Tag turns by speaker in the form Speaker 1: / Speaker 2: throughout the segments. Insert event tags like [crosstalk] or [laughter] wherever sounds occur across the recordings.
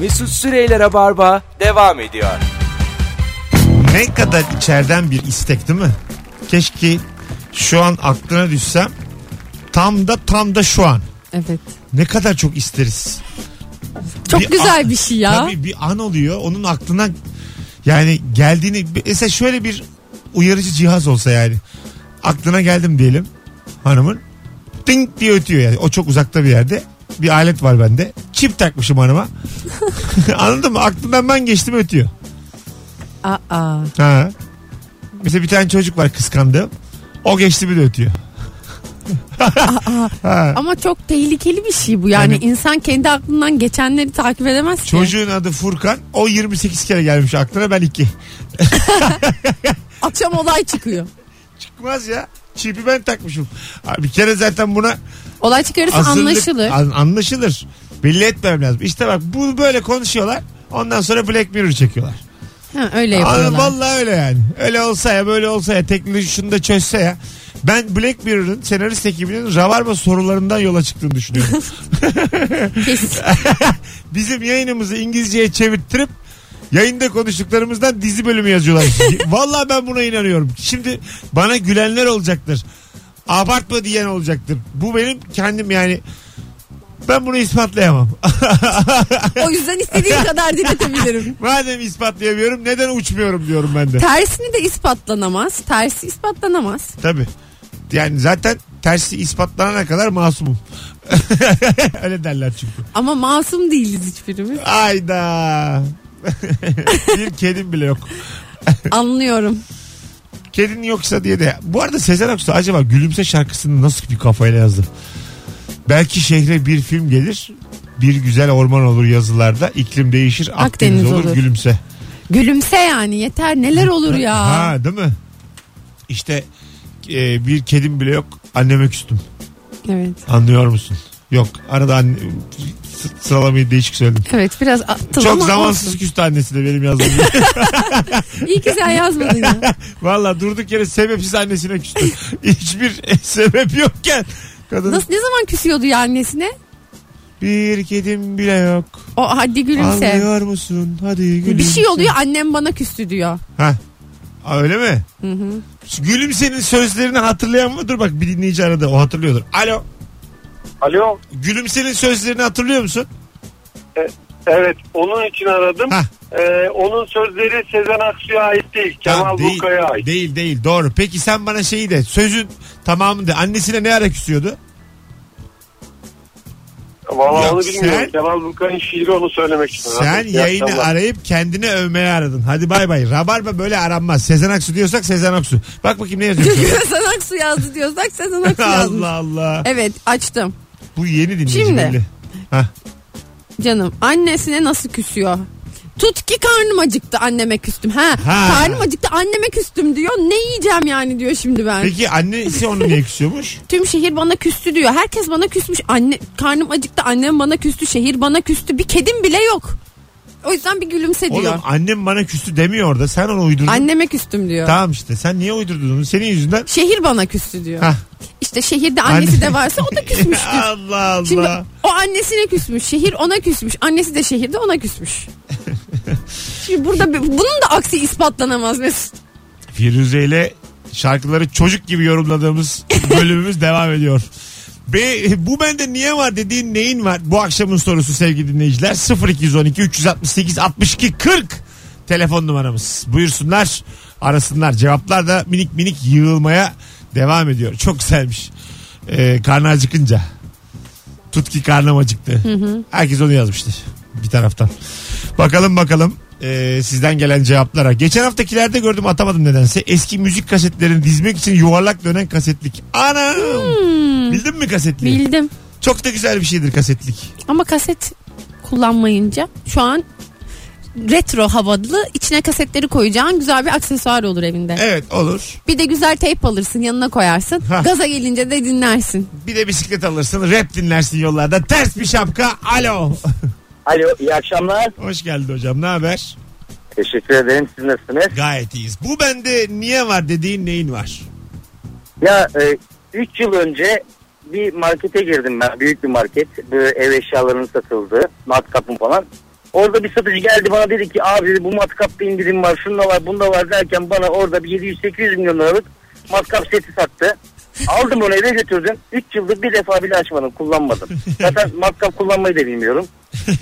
Speaker 1: Mesut Süreyler'e barba devam ediyor.
Speaker 2: Ne kadar içeriden bir istek değil mi? Keşke şu an aklına düşsem tam da tam da şu an.
Speaker 3: Evet.
Speaker 2: Ne kadar çok isteriz.
Speaker 3: Çok
Speaker 2: Bir
Speaker 3: güzel
Speaker 2: an-
Speaker 3: bir şey ya.
Speaker 2: Tabii bir an oluyor. Onun aklına yani geldiğini mesela şöyle bir uyarıcı cihaz olsa yani. Aklına geldim diyelim hanımın. Ding diye ötüyor yani. O çok uzakta bir yerde. Bir alet var bende. Çip takmışım hanıma. [laughs] Anladın mı? Aklından ben geçtim ötüyor.
Speaker 3: Aa.
Speaker 2: Ha. Mesela bir tane çocuk var kıskandığım. O geçti bir de ötüyor. ha.
Speaker 3: Ama çok tehlikeli bir şey bu. Yani,
Speaker 2: Yani-
Speaker 3: insan kendi aklından geçenleri takip edemez ki.
Speaker 2: Çocuğun adı Furkan. O 28 kere gelmiş aklına ben 2.
Speaker 3: Akşam olay çıkıyor.
Speaker 2: Çıkmaz ya. Çipi ben takmışım. Ha, Bir kere zaten buna
Speaker 3: Olay çıkarırsa
Speaker 2: hazırlık-
Speaker 3: anlaşılır.
Speaker 2: an- anlaşılır. Belli etmem lazım. İşte bak bu böyle konuşuyorlar. Ondan sonra Black Mirror çekiyorlar.
Speaker 3: Ha, öyle
Speaker 2: Anladım,
Speaker 3: yapıyorlar.
Speaker 2: vallahi öyle yani. Öyle olsa ya böyle olsa ya teknoloji şunu da çözse ya. Ben Black Mirror'ın senarist ekibinin Ravarba sorularından yola çıktığını düşünüyorum.
Speaker 3: Kesin.
Speaker 2: Bizim yayınımızı İngilizceye çevirttirip yayında konuştuklarımızdan dizi bölümü yazıyorlar. Vallahi ben buna inanıyorum. Şimdi bana gülenler olacaktır. Abartma diyen olacaktır. Bu benim kendim yani ben bunu ispatlayamam. [laughs]
Speaker 3: O yüzden istediğim kadar dinletebilirim.
Speaker 2: Madem ispatlayamıyorum neden uçmuyorum diyorum ben de.
Speaker 3: Tersini de ispatlanamaz. Tersi ispatlanamaz.
Speaker 2: Tabii. Yani zaten tersi ispatlanana kadar masumum. Öyle derler çünkü.
Speaker 3: Ama masum değiliz hiçbirimiz.
Speaker 2: Ayda. [laughs] bir kedim bile yok.
Speaker 3: Anlıyorum.
Speaker 2: Kedin yoksa diye de. Bu arada Sezen Aksu acaba Gülümse şarkısını nasıl bir kafayla yazdı? Belki şehre bir film gelir. Bir güzel orman olur yazılarda. iklim değişir. Akdeniz,
Speaker 3: Akdeniz
Speaker 2: olur,
Speaker 3: olur.
Speaker 2: gülümse.
Speaker 3: Gülümse yani yeter neler olur ya.
Speaker 2: Ha değil mi? İşte e, bir kedim bile yok. Anneme küstüm.
Speaker 3: Evet.
Speaker 2: Anlıyor musun? Yok. Arada anne, s- sıralamayı değişik söyledim.
Speaker 3: Evet biraz attım
Speaker 2: Çok
Speaker 3: ama
Speaker 2: zamansız
Speaker 3: olsun.
Speaker 2: küstü annesi de benim yazdığım. gibi. [laughs]
Speaker 3: İyi ki sen yazmadın ya.
Speaker 2: Valla durduk yere sebepsiz annesine küstü.
Speaker 3: [laughs]
Speaker 2: Hiçbir sebep yokken. Kadın
Speaker 3: Nasıl ne zaman küsüyordu ya annesine?
Speaker 2: bir kedim bile yok.
Speaker 3: O hadi gülümse.
Speaker 2: Anlıyor musun? Hadi gülümse.
Speaker 3: Bir şey oluyor annem bana küstü diyor. [laughs]
Speaker 2: Ha. Aa, öyle mi?
Speaker 3: Hı hı.
Speaker 2: Gülümsenin sözlerini hatırlayan mı? Dur bak bir dinleyici aradı o hatırlıyordur. Alo.
Speaker 4: Alo.
Speaker 2: Gülümsenin sözlerini hatırlıyor musun?
Speaker 4: Evet onun için aradım.
Speaker 2: Hah.
Speaker 4: Ee, onun sözleri Sezen Aksu'ya ait değil.
Speaker 2: Tamam,
Speaker 4: Kemal
Speaker 2: değil,
Speaker 4: Burkay'a ait.
Speaker 2: Değil değil doğru. Peki sen bana şeyi de sözün tamamını de annesine ne ara küsüyordu?
Speaker 4: Vallahi
Speaker 2: Ya
Speaker 4: onu bilmiyorum.
Speaker 2: sen-
Speaker 4: Kemal Burkay'ın şiiri onu söylemek için
Speaker 2: Sen
Speaker 4: aradım. İyi
Speaker 2: yayını
Speaker 4: akşamlar.
Speaker 2: arayıp kendini övmeye aradın. Hadi bay bay. Rabarba böyle aranmaz. Sezen Aksu diyorsak Sezen Aksu. Bak bakayım ne yazıyor.
Speaker 3: [laughs] Sezen Aksu yazdı diyorsak Sezen Aksu yazmış.
Speaker 2: [laughs] Allah Allah.
Speaker 3: Evet açtım.
Speaker 2: Bu yeni dinleyici
Speaker 3: Şimdi.
Speaker 2: belli. Hah.
Speaker 3: Canım annesine nasıl küsüyor? Tut ki karnım acıktı anneme küstüm. Ha,
Speaker 2: Ha.
Speaker 3: karnım acıktı anneme küstüm diyor. Ne yiyeceğim yani diyor şimdi ben.
Speaker 2: Peki annesi onu niye küsüyormuş?
Speaker 3: Tüm şehir bana küstü diyor. Herkes bana küsmüş. Anne karnım acıktı annem bana küstü. Şehir bana küstü. Bir kedim bile yok. O yüzden bir gülümse [laughs] diyor.
Speaker 2: Oğlum annem bana küstü demiyor orada. Sen onu uydurdun.
Speaker 3: Anneme küstüm diyor.
Speaker 2: Tamam işte. Sen niye uydurdun onu? Senin
Speaker 3: [laughs]
Speaker 2: yüzünden.
Speaker 3: Şehir bana küstü diyor.
Speaker 2: Hah.
Speaker 3: İşte şehirde annesi
Speaker 2: Anne-
Speaker 3: de varsa o
Speaker 2: [laughs]
Speaker 3: da küsmüştür.
Speaker 2: Allah Allah.
Speaker 3: Şimdi o annesine küsmüş. Şehir ona küsmüş. Annesi de şehirde ona küsmüş. Şimdi burada bir- bunun da aksi ispatlanamaz Mesut.
Speaker 2: Firuze ile şarkıları çocuk gibi
Speaker 3: [laughs]
Speaker 2: yorumladığımız bölümümüz devam ediyor. Be, bu bende niye var dediğin neyin var? Bu akşamın sorusu sevgili dinleyiciler 0212 368 62 40 telefon numaramız. Buyursunlar arasınlar. Cevaplar da minik minik yığılmaya devam ediyor. Çok güzelmiş. Ee, karnı acıkınca. Tut ki karnım acıktı. Herkes onu yazmıştır bir taraftan. Bakalım bakalım e, sizden gelen cevaplara. Geçen haftakilerde gördüm atamadım nedense. Eski müzik kasetlerini dizmek için yuvarlak dönen kasetlik. Anam! Bildin mi kasetliği?
Speaker 3: Bildim.
Speaker 2: Çok da güzel bir şeydir kasetlik.
Speaker 3: Ama kaset kullanmayınca şu an retro havalı içine kasetleri koyacağın güzel bir aksesuar olur evinde.
Speaker 2: Evet olur.
Speaker 3: Bir de güzel teyp alırsın yanına koyarsın.
Speaker 2: Hah.
Speaker 3: Gaza gelince de dinlersin.
Speaker 2: Bir de bisiklet alırsın rap dinlersin yollarda. Ters bir şapka. Alo. [laughs]
Speaker 5: Alo iyi akşamlar.
Speaker 2: Hoş geldin hocam ne haber?
Speaker 5: Teşekkür ederim siz nasılsınız?
Speaker 2: Gayet iyiyiz. Bu bende niye var dediğin neyin var?
Speaker 5: Ya 3 yıl önce bir markete girdim ben büyük bir market. Böyle ev eşyalarının satıldığı matkapın falan. Orada bir satıcı geldi bana dedi ki abi dedi, bu matkapta indirim var şunda var bunda var derken bana orada bir 700-800 milyon liralık matkap seti sattı. Aldım onu eve götürdüm. 3 yıldır bir defa bile açmadım [laughs] kullanmadım. Zaten matkap kullanmayı da bilmiyorum.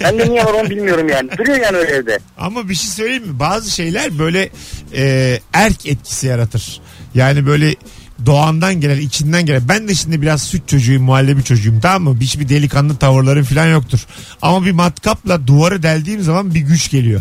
Speaker 5: Ben de niye var onu bilmiyorum yani. Duruyor yani öyle evde.
Speaker 2: Ama bir şey söyleyeyim mi? Bazı şeyler böyle e, erk etkisi yaratır. Yani böyle doğandan gelen, içinden gelen. Ben de şimdi biraz süt çocuğuyum, muhallebi çocuğum tamam mı? Hiçbir delikanlı tavırlarım falan yoktur. Ama bir matkapla duvarı deldiğim zaman bir güç geliyor.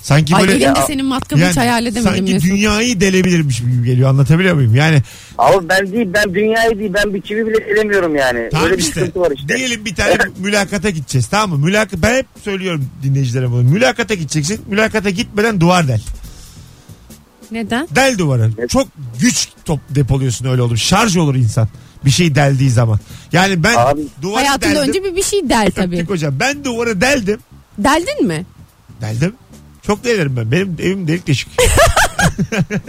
Speaker 2: Sanki
Speaker 3: Ay
Speaker 2: böyle...
Speaker 3: benim de senin matkabı hiç hayal edemedim
Speaker 2: sanki
Speaker 3: Mesut.
Speaker 2: dünyayı delebilirmiş gibi geliyor anlatabiliyor muyum? Yani
Speaker 5: Abi ben değil ben dünyayı değil ben bir çivi bile elemiyorum yani.
Speaker 2: Tamam
Speaker 5: öyle bir
Speaker 2: işte.
Speaker 5: sıkıntı var işte.
Speaker 2: Diyelim bir
Speaker 5: [laughs]
Speaker 2: tane mülakata gideceğiz tamam mı? Mülakat ben hep söylüyorum dinleyicilere bunu. Mülakata gideceksin. Mülakata gitmeden duvar del.
Speaker 3: Neden?
Speaker 2: Del duvarı. Çok güç top depoluyorsun öyle oldu. Şarj olur insan. Bir şey deldiği zaman. Yani ben
Speaker 5: Abi.
Speaker 2: duvarı
Speaker 3: Hayatında
Speaker 2: deldim. [laughs]
Speaker 3: önce bir bir şey del tabii.
Speaker 2: Öptük hocam. Ben duvarı deldim.
Speaker 3: Deldin mi?
Speaker 2: Deldim. Çok delerim ben. Benim evim delik
Speaker 3: [laughs]
Speaker 2: deşik. [laughs]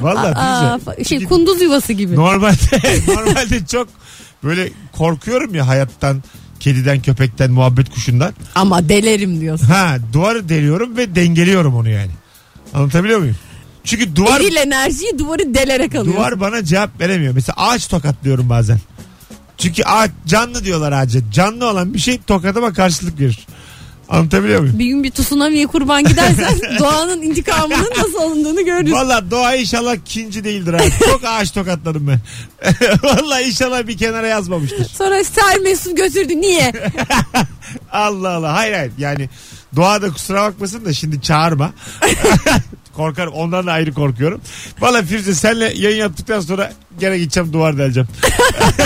Speaker 2: Vallahi
Speaker 3: Aa,
Speaker 2: bize.
Speaker 3: fa- şey kunduz yuvası gibi. [laughs]
Speaker 2: Normalde normalde çok böyle korkuyorum ya hayattan, kediden, köpekten, muhabbet kuşundan.
Speaker 3: Ama delerim diyorsun.
Speaker 2: Ha, duvarı deliyorum ve dengeliyorum onu yani. Anlatabiliyor muyum? Çünkü duvar
Speaker 3: Eril enerjiyi duvarı delerek alıyorsun.
Speaker 2: duvar bana cevap veremiyor. Mesela ağaç tokatlıyorum bazen. Çünkü ağaç canlı diyorlar ağaca. Canlı olan bir şey tokatıma karşılık verir. Anlatabiliyor muyum?
Speaker 3: Bir gün bir tsunami'ye kurban gidersen [laughs] doğanın intikamının nasıl alındığını görürsün.
Speaker 2: Valla doğa inşallah kinci değildir abi. Çok ağaç tokatladım ben. [laughs] Valla inşallah bir kenara yazmamıştır.
Speaker 3: Sonra sel Mesut götürdü. Niye?
Speaker 2: [laughs] Allah Allah. Hayır hayır. Yani doğada kusura bakmasın da şimdi çağırma. Korkarım. Ondan da ayrı korkuyorum. Valla Firuze senle yayın yaptıktan sonra gene gideceğim duvar deleceğim.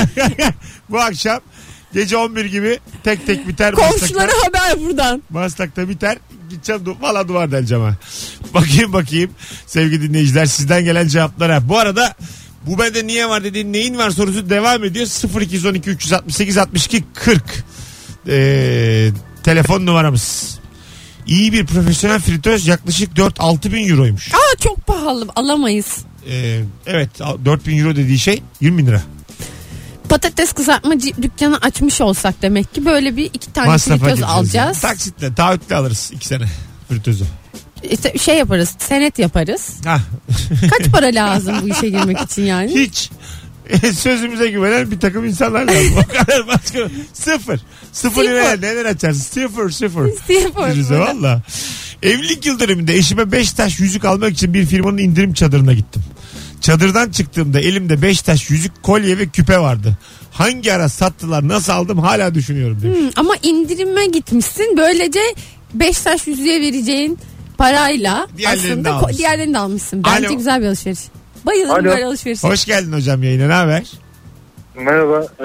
Speaker 2: [laughs] Bu akşam gece 11 gibi tek tek biter.
Speaker 3: Komşulara haber buradan.
Speaker 2: Maslak'ta biter. Gideceğim du valla duvar deleceğim ha. Bakayım bakayım sevgili dinleyiciler sizden gelen cevaplara. Bu arada bu bende niye var dediğin neyin var sorusu devam ediyor. 0212 368 62 40 Ee, telefon numaramız. İyi bir profesyonel fritöz yaklaşık 4-6 bin euroymuş.
Speaker 3: Aa çok pahalı alamayız.
Speaker 2: Ee, evet 4 bin euro dediği şey 20 bin lira.
Speaker 3: Patates kızartma c- dükkanı açmış olsak demek ki böyle bir iki tane
Speaker 2: Masrafa
Speaker 3: fritöz
Speaker 2: gireceğiz.
Speaker 3: alacağız.
Speaker 2: Taksitle taahhütle alırız 2 sene fritözü.
Speaker 3: İşte şey yaparız senet yaparız.
Speaker 2: Hah.
Speaker 3: Kaç para lazım bu işe girmek için yani?
Speaker 2: Hiç. [laughs] E, Sözümüze güvenen bir takım insanlar var. [laughs] O kadar başka. Sıfır. Sıfır
Speaker 3: Sıfır.
Speaker 2: liraya neler açarsın? Sıfır sıfır.
Speaker 3: Sıfır.
Speaker 2: Firuze valla. Evlilik yıl dönümünde eşime 5 taş yüzük almak için bir firmanın indirim çadırına gittim. Çadırdan çıktığımda elimde 5 taş yüzük, kolye ve küpe vardı. Hangi ara sattılar, nasıl aldım hala düşünüyorum demiş.
Speaker 3: Hmm, Ama indirime gitmişsin. Böylece beş taş yüzüğe vereceğin parayla
Speaker 2: Diğerlerini de
Speaker 3: aslında ko-
Speaker 2: almışsın.
Speaker 3: diğerlerini de almışsın. Bence
Speaker 2: Alo.
Speaker 3: güzel bir alışveriş. Bayılırım
Speaker 6: Alo.
Speaker 3: böyle alışverişe.
Speaker 2: Hoş geldin hocam yayına. Ne haber?
Speaker 6: Merhaba. Ee,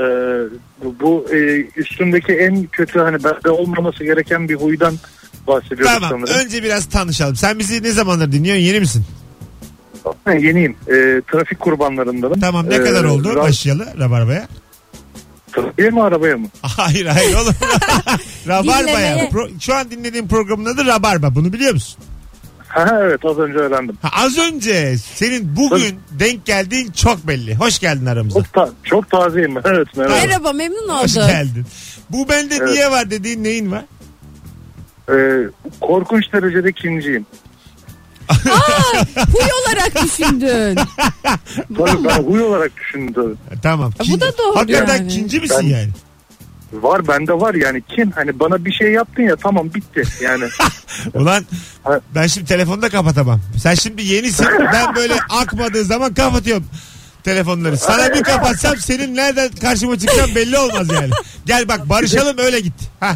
Speaker 6: bu- bu e, üstümdeki en kötü hani bende olmaması gereken bir huydan bahsediyoruz
Speaker 2: Tamam.
Speaker 6: sanırım.
Speaker 2: Önce biraz tanışalım. Sen bizi ne zamandır dinliyorsun? Yeni misin?
Speaker 6: Ha, yeniyim. Ee, trafik kurbanlarındanım.
Speaker 2: Tamam. Ne
Speaker 6: Ee,
Speaker 2: kadar oldu
Speaker 6: ra-
Speaker 2: başlayalı Rabarba'ya?
Speaker 6: Trafiğe mi arabaya mı?
Speaker 2: Hayır hayır
Speaker 3: [laughs]
Speaker 2: oğlum. Rabarba ya.
Speaker 3: Dinlemeye.
Speaker 2: Pro- şu an dinlediğim programın adı Rabarba. Bunu biliyor musun?
Speaker 6: Ha, evet az önce öğrendim.
Speaker 2: Ha, az önce senin bugün denk geldiğin çok belli. Hoş geldin aramıza.
Speaker 6: Çok, ta- çok tazeyim [laughs] ben. Evet merhaba.
Speaker 3: Merhaba memnun
Speaker 2: Hoş
Speaker 3: oldum.
Speaker 2: geldin. Bu bende
Speaker 6: Evet.
Speaker 2: niye var dediğin neyin var?
Speaker 6: Ee, korkunç derecede kinciyim.
Speaker 3: Aa, huy olarak düşündün.
Speaker 6: Tabii ben huy olarak düşündüm.
Speaker 2: Ha, Tamam.
Speaker 3: bu da doğru
Speaker 2: Hakikaten
Speaker 3: yani.
Speaker 2: kinci misin
Speaker 6: Ben-
Speaker 2: yani?
Speaker 6: Var bende var yani kin. Hani bana bir şey yaptın ya tamam bitti. Yani
Speaker 2: Ulan
Speaker 6: Ha.
Speaker 2: ben şimdi telefonu da kapatamam. Sen şimdi yenisin. ben böyle akmadığı zaman kapatıyorum telefonları. Sana bir kapatsam senin nereden karşıma çıkacağın belli olmaz yani. Gel bak barışalım öyle git. Ha.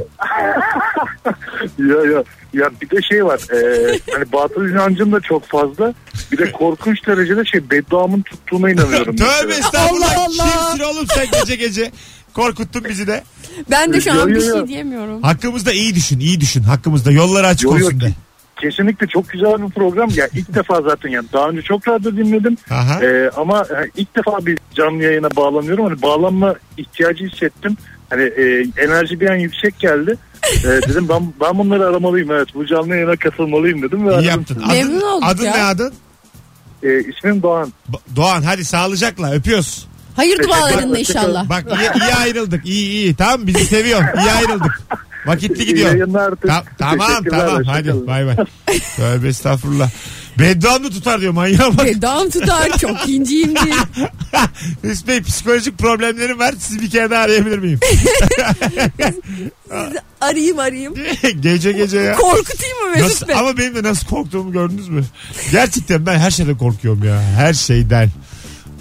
Speaker 6: ya ya ya bir de şey var.
Speaker 2: [laughs]
Speaker 6: ee, hani batıl inancım da çok fazla. Bir de korkunç derecede şey bedduamın tuttuğuna inanıyorum.
Speaker 2: Tövbe estağfurullah.
Speaker 3: Allah Allah.
Speaker 2: Kimsin oğlum sen gece gece? Korkuttun bizi de.
Speaker 3: Ben de şu
Speaker 6: Yo,
Speaker 3: an
Speaker 6: yo,
Speaker 3: bir
Speaker 6: yo.
Speaker 3: şey diyemiyorum.
Speaker 2: Hakkımızda iyi düşün, iyi düşün. Hakkımızda yolları açık
Speaker 6: Yo, yo,
Speaker 2: olsun de.
Speaker 6: ki- Kesinlikle çok güzel bir program. Ya ilk defa zaten yani daha önce çok radyo dinledim.
Speaker 2: Aha.
Speaker 6: Ee, ama e, ilk defa bir canlı yayına bağlanıyorum. Hani bağlanma ihtiyacı hissettim. Hani e, enerji bir an yüksek geldi. Ee, dedim ben ben bunları aramalıyım. Evet bu canlı yayına katılmalıyım dedim. Ve
Speaker 2: iyi
Speaker 6: aradım
Speaker 2: yaptın.
Speaker 6: sizi.
Speaker 2: Adın,
Speaker 3: Memnun olduk
Speaker 2: adın
Speaker 3: ya.
Speaker 2: ne adın?
Speaker 6: Ee, ismim Doğan.
Speaker 2: Ba- Doğan hadi sağlıcakla öpüyoruz.
Speaker 3: Hayır dualarınla
Speaker 6: Teşekkür ederim.
Speaker 3: inşallah.
Speaker 2: Bak iyi, iyi ayrıldık. İyi iyi tamam bizi seviyorsun. İyi ayrıldık. Vakitli
Speaker 4: İyi
Speaker 2: gidiyor.
Speaker 4: yayınlar.
Speaker 2: Ta- tamam
Speaker 4: Teşekkürler,
Speaker 2: tamam
Speaker 4: hoşça kalın.
Speaker 2: hadi bay bay. Tövbe estağfurullah. Beddua mı tutar diyor manyağa bak.
Speaker 3: Bedam tutar çok inciyim diye.
Speaker 2: [laughs] Mesut Bey psikolojik problemlerim var. Sizi bir kere daha arayabilir miyim? [laughs]
Speaker 3: Arayayım arayayım.
Speaker 2: gece gece ya.
Speaker 3: Korkutayım mı
Speaker 2: Nasıl,
Speaker 3: Mesut Bey?
Speaker 2: ama benim de nasıl korktuğumu gördünüz mü? Gerçekten ben her şeyden korkuyorum ya. Her şeyden.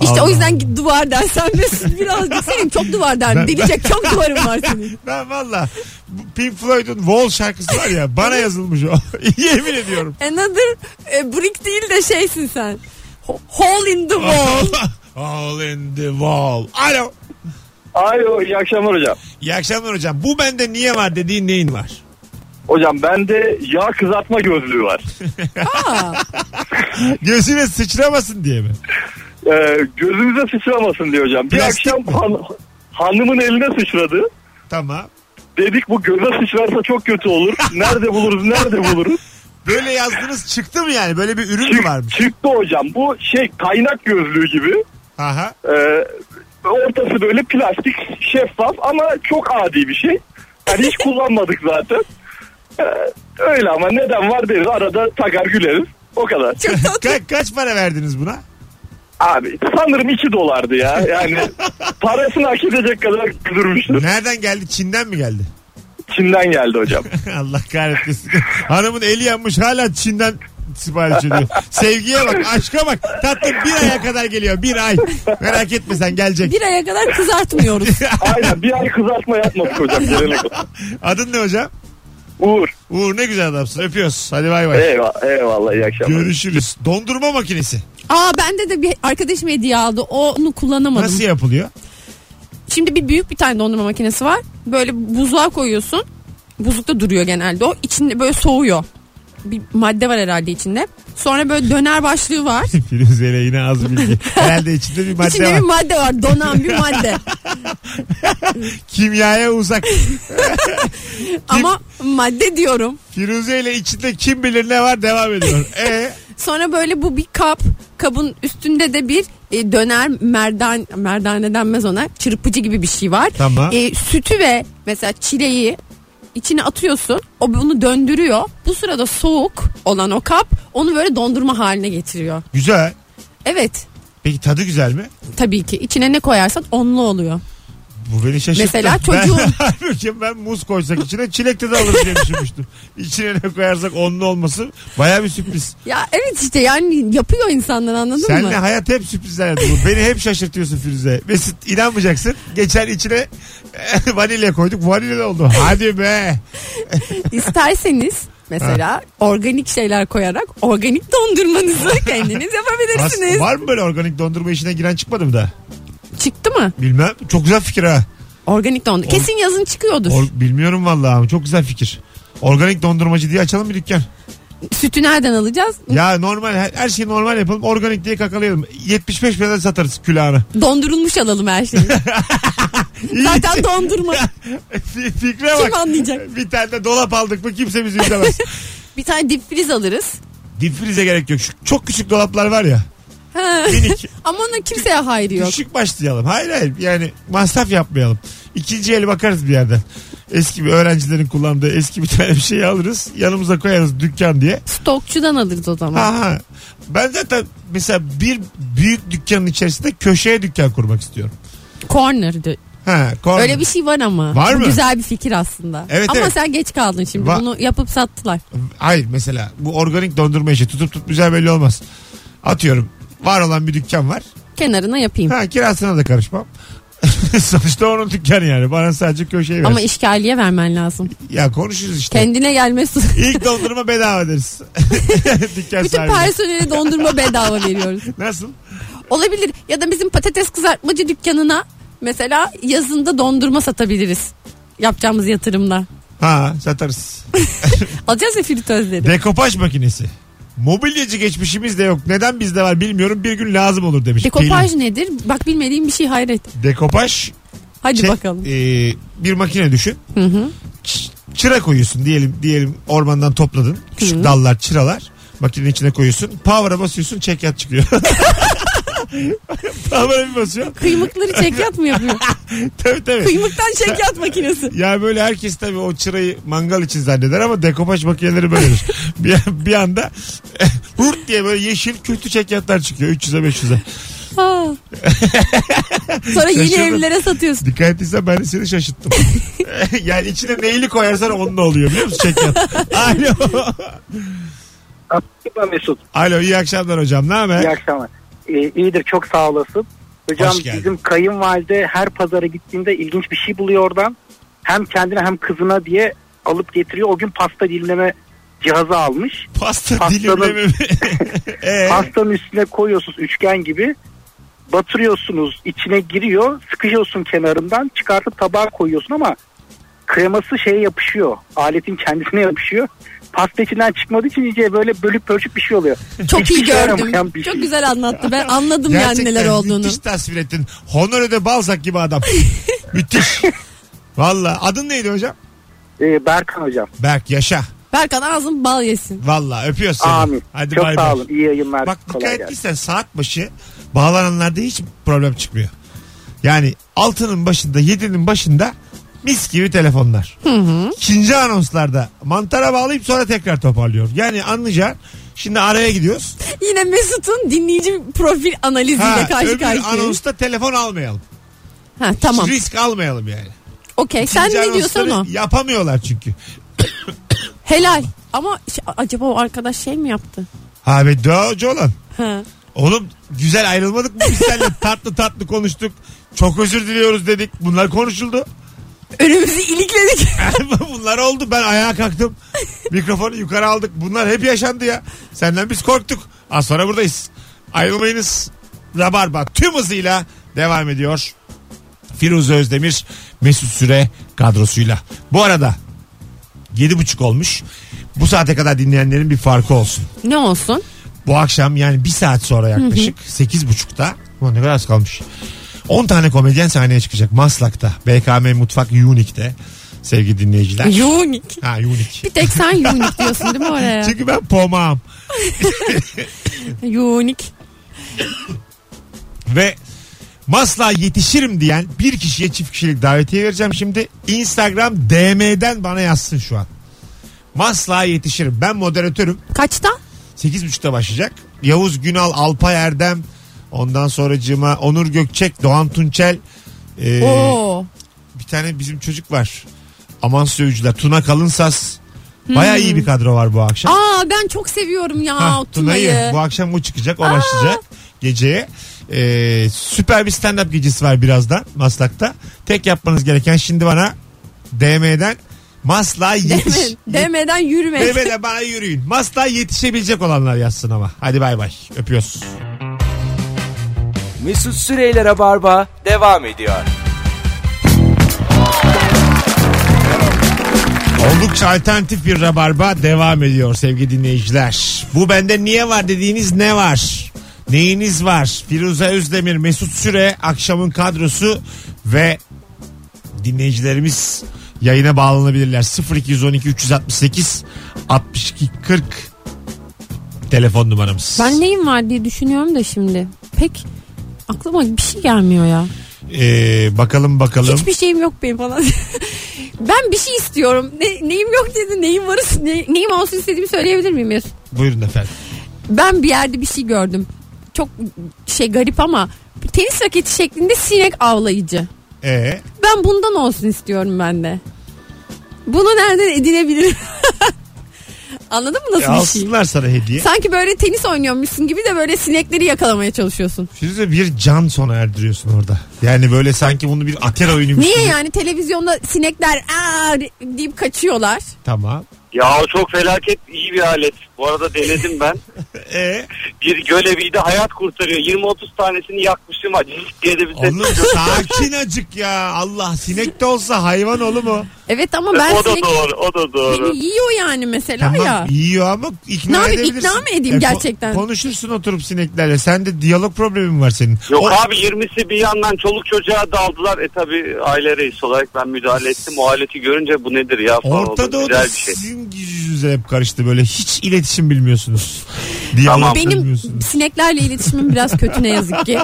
Speaker 3: İşte
Speaker 2: Allah
Speaker 3: o yüzden git duvar dersen Mesut birazcık senin çok duvar
Speaker 2: Ben-
Speaker 3: der. Delecek çok duvarın var senin.
Speaker 2: Ben valla bu Pink Floyd'un Wall şarkısı var ya bana yazılmış o. [laughs] Yemin ediyorum.
Speaker 3: Another e, brick değil de şeysin sen. Ho- Hole in
Speaker 2: [laughs]
Speaker 3: the wall.
Speaker 2: All in the wall. Alo.
Speaker 6: Alo iyi akşamlar hocam.
Speaker 2: İyi akşamlar hocam. Bu bende niye var dediğin neyin var?
Speaker 6: Hocam bende yağ kızartma gözlüğü var.
Speaker 3: Aa,
Speaker 2: Gözüne sıçramasın diye mi?
Speaker 6: Ee, gözümüze sıçramasın diyor hocam. Bir
Speaker 2: Plastik
Speaker 6: akşam
Speaker 2: mi?
Speaker 6: han, hanımın eline sıçradı.
Speaker 2: Tamam.
Speaker 6: Dedik bu göze sıçrarsa çok
Speaker 2: [laughs]
Speaker 6: kötü olur. Nerede buluruz nerede buluruz.
Speaker 2: Böyle yazdınız çıktı mı yani? Böyle bir ürün mü
Speaker 6: Çık-
Speaker 2: varmış?
Speaker 6: çıktı hocam bu şey kaynak gözlüğü gibi.
Speaker 2: Aha.
Speaker 6: Ee, ortası böyle plastik şeffaf ama çok adi bir şey.
Speaker 2: [laughs]
Speaker 6: Yani hiç kullanmadık zaten. Ee, öyle ama neden var deriz arada takar güleriz. O kadar.
Speaker 3: çok tatlı.
Speaker 2: Ka- kaç para verdiniz buna?
Speaker 6: Abi sanırım 2 dolardı ya.
Speaker 2: [laughs]
Speaker 6: Yani parasını hak edecek kadar kızdırmıştı.
Speaker 2: Nereden geldi? Çin'den mi geldi?
Speaker 6: Çin'den geldi hocam.
Speaker 2: [laughs] Allah kahretmesin. Hanımın eli yanmış hala Çin'den sipariş ediyor. Sevgiye bak, aşka bak. Tatlım bir aya kadar geliyor. Bir ay. Merak etme sen gelecek.
Speaker 3: Bir aya
Speaker 2: [laughs]
Speaker 3: kadar kızartmıyoruz.
Speaker 6: Aynen bir ay kızartma yapmadık hocam gelene kadar.
Speaker 2: Adın ne hocam?
Speaker 6: Uğur.
Speaker 2: Uğur ne güzel adamsın. Öpüyoruz. Hadi bay bay.
Speaker 6: Eyvallah, eyvallah iyi akşamlar.
Speaker 2: Görüşürüz. Dondurma makinesi.
Speaker 3: Aa bende de bir arkadaşım hediye aldı. Onu kullanamadım.
Speaker 2: Nasıl yapılıyor? [laughs]
Speaker 3: Şimdi bir büyük bir tane dondurma makinesi var. Böyle buzluğa koyuyorsun. Buzlukta duruyor genelde o. İçinde böyle soğuyor. Bir madde var herhalde içinde. Sonra böyle döner başlığı var.
Speaker 2: Firuze ile yine az bilgi. Herhalde içinde bir [laughs] madde
Speaker 3: İçinde
Speaker 2: var.
Speaker 3: bir madde var.
Speaker 2: [laughs]
Speaker 3: Donan bir madde.
Speaker 2: Kimyaya uzak.
Speaker 3: Ama madde diyorum.
Speaker 2: Firuze ile içinde kim bilir ne var devam
Speaker 3: [laughs]
Speaker 2: ediyor. E
Speaker 3: Sonra böyle bu bir kap. Kabın üstünde de bir e, döner merdan merdane denmez ona. Çırpıcı gibi bir şey var.
Speaker 2: Tamam.
Speaker 3: E, sütü ve mesela çileği içine atıyorsun. O bunu döndürüyor. Bu sırada soğuk olan o kap onu böyle dondurma haline getiriyor.
Speaker 2: güzel.
Speaker 3: Evet.
Speaker 2: Peki tadı güzel mi?
Speaker 3: Tabii ki. İçine ne koyarsan onlu oluyor.
Speaker 2: Bu beni şaşırttı. Ben,
Speaker 3: Mesela çocuğun-
Speaker 2: [laughs] halbuki ben muz koysak içine çilek de alırız diye düşünmüştüm. [laughs] İçine ne koyarsak onlu olması baya bir sürpriz.
Speaker 3: Ya evet işte yani yapıyor insanlar anladın mı?
Speaker 2: Senle hayat hep sürprizler yaptı. Bu Beni hep şaşırtıyorsun Firuze. Mesut inanmayacaksın. Geçen içine [laughs] vanilya koyduk. Vanilya da oldu. Hadi be.
Speaker 3: [laughs] İsterseniz mesela organik şeyler koyarak organik dondurmanızı [laughs] kendiniz
Speaker 2: As-
Speaker 3: yapabilirsiniz.
Speaker 2: var mı böyle organik dondurma işine giren çıkmadı mı da?
Speaker 3: Çıktı mı?
Speaker 2: Bilmem. Çok güzel fikir ha.
Speaker 3: Organik dondurma. Kesin yazın çıkıyordur.
Speaker 2: Or- bilmiyorum vallahi ama çok güzel fikir. Organik dondurmacı diye açalım bir dükkan.
Speaker 3: Sütü nereden alacağız?
Speaker 2: Ya normal her, her şeyi normal yapalım. Organik diye kakalayalım. 75 liradan satarız külahını.
Speaker 3: Dondurulmuş alalım her
Speaker 2: [laughs]
Speaker 3: şeyi. Zaten dondurma.
Speaker 2: F- Fikre bak.
Speaker 3: Kim anlayacak?
Speaker 2: Bir tane de dolap aldık mı kimse bizi
Speaker 3: [laughs]
Speaker 2: izlemez.
Speaker 3: Bir tane dip friz alırız.
Speaker 2: Dipfrize gerek yok. Şu çok küçük dolaplar var ya.
Speaker 3: Ha.
Speaker 2: Minik.
Speaker 3: Ama ona kimseye hayrı [laughs] yok.
Speaker 2: Küçük başlayalım. Hayır hayır yani masraf yapmayalım. İkinci el bakarız bir yerden. Eski bir öğrencilerin kullandığı eski bir tane bir şey alırız. Yanımıza koyarız dükkan diye.
Speaker 3: Stokçudan alırız o zaman.
Speaker 2: Ha, ha. Ben zaten mesela bir büyük dükkanın içerisinde köşeye dükkan kurmak istiyorum.
Speaker 3: Corner. de-
Speaker 2: Ha, korna.
Speaker 3: Öyle bir şey var ama.
Speaker 2: Var
Speaker 3: Bu
Speaker 2: mı?
Speaker 3: Güzel bir fikir aslında.
Speaker 2: Evet,
Speaker 3: ama
Speaker 2: evet.
Speaker 3: sen geç kaldın şimdi.
Speaker 2: Va-
Speaker 3: Bunu yapıp sattılar.
Speaker 2: Hayır mesela bu organik dondurma işi tutup tutmayacağı belli olmaz. Atıyorum var olan bir dükkan var.
Speaker 3: Kenarına yapayım.
Speaker 2: Ha kirasına da karışmam. [laughs] Sonuçta onun dükkanı yani. Bana sadece köşeyi ver.
Speaker 3: Ama işgaliye vermen lazım.
Speaker 2: Ya konuşuruz işte.
Speaker 3: Kendine gelmesi.
Speaker 2: İlk dondurma bedava deriz.
Speaker 3: [laughs]
Speaker 2: Dükkan
Speaker 3: Bütün
Speaker 2: sahibine.
Speaker 3: personele dondurma bedava veriyoruz.
Speaker 2: Nasıl?
Speaker 3: Olabilir. Ya da bizim patates kızartmacı dükkanına mesela yazında dondurma satabiliriz. Yapacağımız yatırımla.
Speaker 2: Ha satarız.
Speaker 3: Alacağız ya fritözleri.
Speaker 2: Dekopaj makinesi. Mobilyacı geçmişimiz de yok. Neden bizde var bilmiyorum. Bir gün lazım olur demiş.
Speaker 3: Dekopaj nedir? Bak bilmediğim bir şey hayret.
Speaker 2: Pelin. Dekopaj.
Speaker 3: Hadi
Speaker 2: şey,
Speaker 3: bakalım.
Speaker 2: e, bir makine düşün.
Speaker 3: Hı hı.
Speaker 2: Ç- çıra koyuyorsun diyelim diyelim ormandan topladın. Küçük
Speaker 3: Hı. [laughs]
Speaker 2: dallar, çıralar. Makinenin içine koyuyorsun. Power'a basıyorsun çekyat çıkıyor. Tavana bir basıyor.
Speaker 3: Kıymıkları çekyat
Speaker 2: [laughs]
Speaker 3: mı yapıyor?
Speaker 2: tabii tabii.
Speaker 3: Kıymıktan çekyat makinesi.
Speaker 2: Ya böyle herkes tabii o çırayı mangal için zanneder ama dekopaj makineleri
Speaker 3: [laughs]
Speaker 2: böyledir. bir, bir anda [laughs] hurt diye böyle yeşil kötü çekyatlar çıkıyor 300'e 500'e. [laughs]
Speaker 3: Ha. Sonra yeni
Speaker 2: Şaşırdım.
Speaker 3: evlere satıyorsun.
Speaker 2: Dikkat ettiysen ben de seni şaşırttım. [laughs] yani içine neyli koyarsan onunla oluyor biliyor musun
Speaker 3: [laughs]
Speaker 2: çekyat? Alo.
Speaker 5: Ben Mesut.
Speaker 2: Alo iyi akşamlar hocam ne
Speaker 5: İyi
Speaker 2: haber?
Speaker 5: akşamlar. Ee, iyidir çok sağ olasın. Hocam
Speaker 2: Hoş geldin.
Speaker 5: bizim kayınvalide her pazara gittiğinde ilginç bir şey buluyor oradan. Hem kendine hem kızına diye alıp getiriyor. O gün pasta dilimleme cihazı almış.
Speaker 2: Pasta
Speaker 5: Pastanın-
Speaker 2: dilimleme
Speaker 5: [laughs]
Speaker 2: mi? Ee,
Speaker 5: Pastanın üstüne koyuyorsunuz üçgen gibi. Batırıyorsunuz içine giriyor. Sıkıyorsun kenarından çıkartıp tabağa koyuyorsun ama kreması şeye yapışıyor. Aletin kendisine yapışıyor. Pasta içinden çıkmadığı için iyice böyle bölüp bölçük bir şey oluyor.
Speaker 3: Çok iyi
Speaker 5: Hiçbir şey
Speaker 3: gördüm.
Speaker 5: yaramayan bir
Speaker 3: Çok
Speaker 5: şey.
Speaker 3: güzel anlattı. Ben anladım yani
Speaker 2: gerçekten
Speaker 3: neler olduğunu.
Speaker 2: müthiş tasvir ettin. Honoré de Balzac gibi
Speaker 3: [laughs]
Speaker 2: adam. müthiş. Valla adın neydi hocam?
Speaker 5: Ee, Berkan hocam.
Speaker 2: Berk yaşa.
Speaker 3: Berkan ağzın bal yesin.
Speaker 2: Valla öpüyoruz seni.
Speaker 5: Amin.
Speaker 2: Hadi
Speaker 5: Çok
Speaker 2: bay bay.
Speaker 5: sağ olun. İyi yayınlar.
Speaker 2: Bak
Speaker 5: Kolay
Speaker 2: dikkat
Speaker 5: gelsin.
Speaker 2: ettiysen saat başı bağlananlarda hiç problem çıkmıyor. Yani altının başında yedinin başında mis gibi telefonlar. İkinci anonslarda mantara bağlayıp sonra tekrar toparlıyor. Yani anlayacağın şimdi araya gidiyoruz.
Speaker 3: Yine Mesut'un dinleyici profil analiziyle
Speaker 2: Ha,
Speaker 3: karşı
Speaker 2: öbür
Speaker 3: karşıyayız.
Speaker 2: anonsta telefon almayalım.
Speaker 3: Ha, tamam.
Speaker 2: Risk almayalım yani.
Speaker 3: Okey. Sen
Speaker 2: İkinci
Speaker 3: ne diyorsan o.
Speaker 2: anonsları Yapamıyorlar çünkü.
Speaker 3: Helal. Ama ş- acaba o arkadaş şey mi yaptı?
Speaker 2: Ha be doğrucu olan.
Speaker 3: Ha.
Speaker 2: Oğlum güzel ayrılmadık mı biz
Speaker 3: [laughs]
Speaker 2: seninle tatlı tatlı konuştuk. Çok özür diliyoruz dedik. Bunlar konuşuldu.
Speaker 3: Önümüzü ilikledik.
Speaker 2: Bunlar oldu. Ben ayağa kalktım. Mikrofonu yukarı aldık. Bunlar hep yaşandı ya. Senden biz korktuk. Az sonra buradayız. Ayrılmayınız. Rabarba tüm hızıyla devam ediyor. Firuze Özdemir Mesut Süre kadrosuyla. Bu arada 7.30 olmuş. Bu saate kadar dinleyenlerin bir farkı olsun.
Speaker 3: ne olsun?
Speaker 2: Bu akşam yani bir saat sonra yaklaşık 8.30'da. Ulan ne kadar az kalmış. 10 tane komedyen sahneye çıkacak. Maslak'ta. BKM Mutfak Unique'de. Sevgili dinleyiciler.
Speaker 3: Unique.
Speaker 2: Ha unik.
Speaker 3: Bir tek sen unique diyorsun değil mi
Speaker 2: [laughs]
Speaker 3: oraya?
Speaker 2: Çünkü ben pomağım.
Speaker 3: Unique.
Speaker 2: Ve masla yetişirim diyen bir kişiye çift kişilik davetiye vereceğim şimdi. Instagram DM'den bana yazsın şu an. Masla yetişirim. Ben moderatörüm.
Speaker 3: Kaçta?
Speaker 2: 8.30'da başlayacak. Yavuz Günal, Alpay Erdem, ondan sonracığıma Onur Gökçek, Doğan Tunçel. Ee,
Speaker 3: Oo.
Speaker 2: bir tane bizim çocuk var. Amasya Öğücüler. Tuna Kalınsas. Baya iyi
Speaker 3: Hmm.
Speaker 2: bir kadro var bu akşam.
Speaker 3: Aa ben çok seviyorum ya
Speaker 2: Ha,
Speaker 3: Tuna'yı.
Speaker 2: Bu akşam o çıkacak. O başlayacak geceye. Ee, süper bir stand-up gecesi var birazdan Maslak'ta. Tek yapmanız gereken şimdi bana DM'den Masla yetiş.
Speaker 3: Deme- demeden yürüme.
Speaker 2: DM'den bana yürüyün. Masla yetişebilecek olanlar yazsın ama. Hadi bay bay. Öpüyoruz.
Speaker 1: Mesut Süreyler'e barba devam ediyor.
Speaker 2: Oldukça alternatif bir rabarba devam ediyor sevgili dinleyiciler. Bu bende niye var dediğiniz ne var? Neyiniz var? Firuze Özdemir, Mesut Süre, akşamın kadrosu ve dinleyicilerimiz yayına bağlanabilirler. 0212 368 62 40 telefon numaramız.
Speaker 3: Ben neyim var diye düşünüyorum da şimdi. Pek aklıma bir şey gelmiyor ya.
Speaker 2: Ee, bakalım bakalım.
Speaker 3: Hiçbir şeyim yok benim falan. [laughs] ben bir şey istiyorum. Ne- neyim yok dedi. Neyim var ne, neyim olsun istediğimi söyleyebilir miyim Mesut?
Speaker 2: Buyurun efendim.
Speaker 3: Ben bir yerde bir şey gördüm. Çok şey garip ama tenis raketi şeklinde sinek avlayıcı.
Speaker 2: Ee,
Speaker 3: Ben bundan olsun istiyorum ben de. Bunu nereden edinebilirim? [laughs] Anladın mı
Speaker 2: e,
Speaker 3: nasıl bir şey?
Speaker 2: alsınlar sana hediye.
Speaker 3: Sanki böyle tenis oynuyormuşsun gibi de böyle sinekleri yakalamaya çalışıyorsun.
Speaker 2: Firuze bir can sona erdiriyorsun orada. Yani böyle sanki bunu bir atera oyunuymuş
Speaker 3: Niye
Speaker 2: gibi.
Speaker 3: yani televizyonda sinekler aa deyip kaçıyorlar?
Speaker 2: Tamam.
Speaker 7: Ya o çok felaket iyi bir alet. Bu arada denedim ben.
Speaker 2: Ee,
Speaker 7: Bir göreviydi hayat kurtarıyor. 20-30 tanesini yakmışım acı. diye de bir ses
Speaker 2: oğlum sakin acık ya. Allah sinek de olsa hayvan oğlum o.
Speaker 3: Evet ama ben
Speaker 7: o da
Speaker 3: sinek
Speaker 7: doğru, o da doğru.
Speaker 3: beni yiyor yani mesela ya.
Speaker 2: Tamam yiyor ama ikna
Speaker 3: Ne yapayım,
Speaker 2: edebilirsin. E,
Speaker 3: ikna mı edeyim
Speaker 2: ko-
Speaker 3: gerçekten?
Speaker 2: konuşursun oturup sineklerle. Sen de diyalog problemin var senin.
Speaker 7: Yok
Speaker 2: O-
Speaker 7: abi 20'si bir yandan çoluk çocuğa daldılar. E tabi aile reisi olarak ben müdahale ettim. O aleti görünce bu nedir ya falan
Speaker 2: Orta
Speaker 7: oldu.
Speaker 2: Doğu'da
Speaker 7: Güzel bir şey.
Speaker 2: sizin yüzünüze hep karıştı böyle. Hiç iletişim bilmiyorsunuz. Diye
Speaker 7: Tamam.
Speaker 2: alıp
Speaker 3: Benim
Speaker 2: vermiyorsun.
Speaker 3: sineklerle iletişimim biraz kötü ne
Speaker 2: [laughs]
Speaker 3: yazık ki.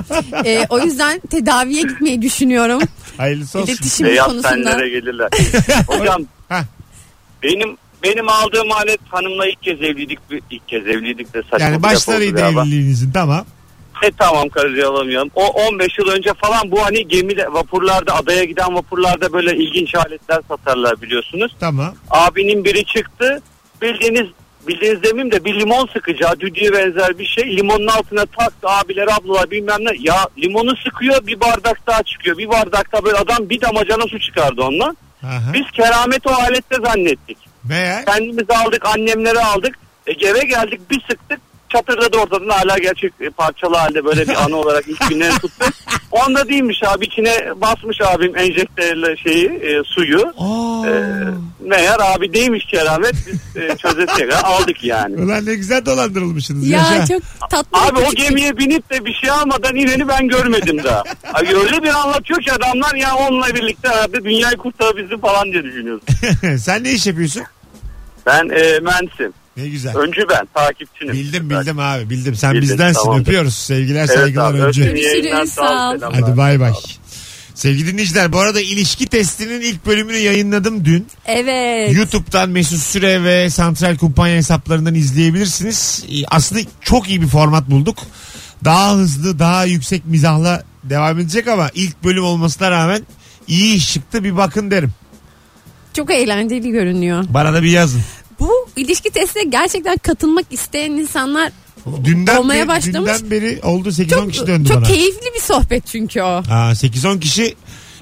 Speaker 3: Ee, o yüzden tedaviye gitmeyi düşünüyorum.
Speaker 2: Hayırlısı olsun.
Speaker 3: İletişim
Speaker 7: Beyaz
Speaker 3: konusunda.
Speaker 2: [laughs]
Speaker 7: tenlere gelirler. Hocam
Speaker 2: Heh.
Speaker 7: benim benim aldığım alet hanımla ilk kez evliydik. ilk kez evliydik de saçma bir
Speaker 2: Yani
Speaker 7: laf
Speaker 2: başlarıydı
Speaker 7: oldu galiba.
Speaker 2: evliliğinizin tamam.
Speaker 7: E tamam karıcı alamayalım. O 15 yıl önce falan bu hani gemide vapurlarda adaya giden vapurlarda böyle ilginç aletler satarlar biliyorsunuz.
Speaker 2: Tamam.
Speaker 7: Abinin biri çıktı. Bildiğiniz bildiğiniz demeyeyim de bir limon sıkacağı düdüğe benzer bir şey. Limonun altına taktı abiler ablalar bilmem ne. Ya limonu sıkıyor bir bardak daha çıkıyor. Bir bardak daha böyle adam bir damacana su çıkardı ondan.
Speaker 2: Aha.
Speaker 7: Biz keramet o alette zannettik.
Speaker 2: Meğer
Speaker 7: Kendimiz aldık annemleri aldık. E, eve geldik bir sıktık çatırdadı ortadan hala gerçek e, parçalı halde böyle bir anı olarak ilk günleri tuttu. Onda değilmiş abi içine basmış abim enjektörle şeyi e, suyu.
Speaker 2: Aa.
Speaker 7: E, meğer abi değilmiş keramet biz e, çözesek ha, aldık yani.
Speaker 2: Ulan ne güzel dolandırılmışsınız.
Speaker 3: Ya
Speaker 2: Yaşa.
Speaker 3: çok tatlı.
Speaker 7: Abi
Speaker 3: bir
Speaker 7: o
Speaker 3: küçük-
Speaker 7: gemiye binip de bir şey almadan ineni ben görmedim daha. Abi öyle bir anlatıyor ki adamlar ya onunla birlikte abi dünyayı kurtarabildi falan diye düşünüyoruz.
Speaker 2: [laughs] Sen ne iş yapıyorsun?
Speaker 7: Ben e, mühendisim.
Speaker 2: Ne güzel.
Speaker 7: Öncü ben takipçinim.
Speaker 2: Bildim bildim abi bildim. Sen
Speaker 7: Bildim,
Speaker 2: bizdensin
Speaker 7: tamamdır.
Speaker 2: öpüyoruz. Sevgiler
Speaker 7: Evet
Speaker 2: saygılar
Speaker 7: abi,
Speaker 2: önce.
Speaker 7: öptüm. İyi yayınlar,
Speaker 3: Görüşürüz,
Speaker 7: sağ ol,
Speaker 3: sağ ol.
Speaker 7: selamlar.
Speaker 2: Hadi bay bay. Sevgili dinleyiciler bu arada ilişki testinin ilk bölümünü yayınladım dün.
Speaker 3: Evet.
Speaker 2: YouTube'dan Mesut Süre ve Santral Kumpanya hesaplarından izleyebilirsiniz. Ee, Aslında çok iyi bir format bulduk. Daha hızlı, daha yüksek mizahla devam edecek ama ilk bölüm olmasına rağmen iyi iş çıktı bir bakın derim.
Speaker 3: Çok eğlenceli görünüyor.
Speaker 2: Bana da bir yazın.
Speaker 3: Bu ilişki testine gerçekten katılmak isteyen insanlar
Speaker 2: Dünden,
Speaker 3: Olmaya
Speaker 2: beri,
Speaker 3: başlamış.
Speaker 2: dünden beri oldu 8-10
Speaker 3: çok
Speaker 2: kişi döndü
Speaker 3: çok
Speaker 2: bana.
Speaker 3: keyifli bir sohbet çünkü o.
Speaker 2: Aa, 8-10 kişi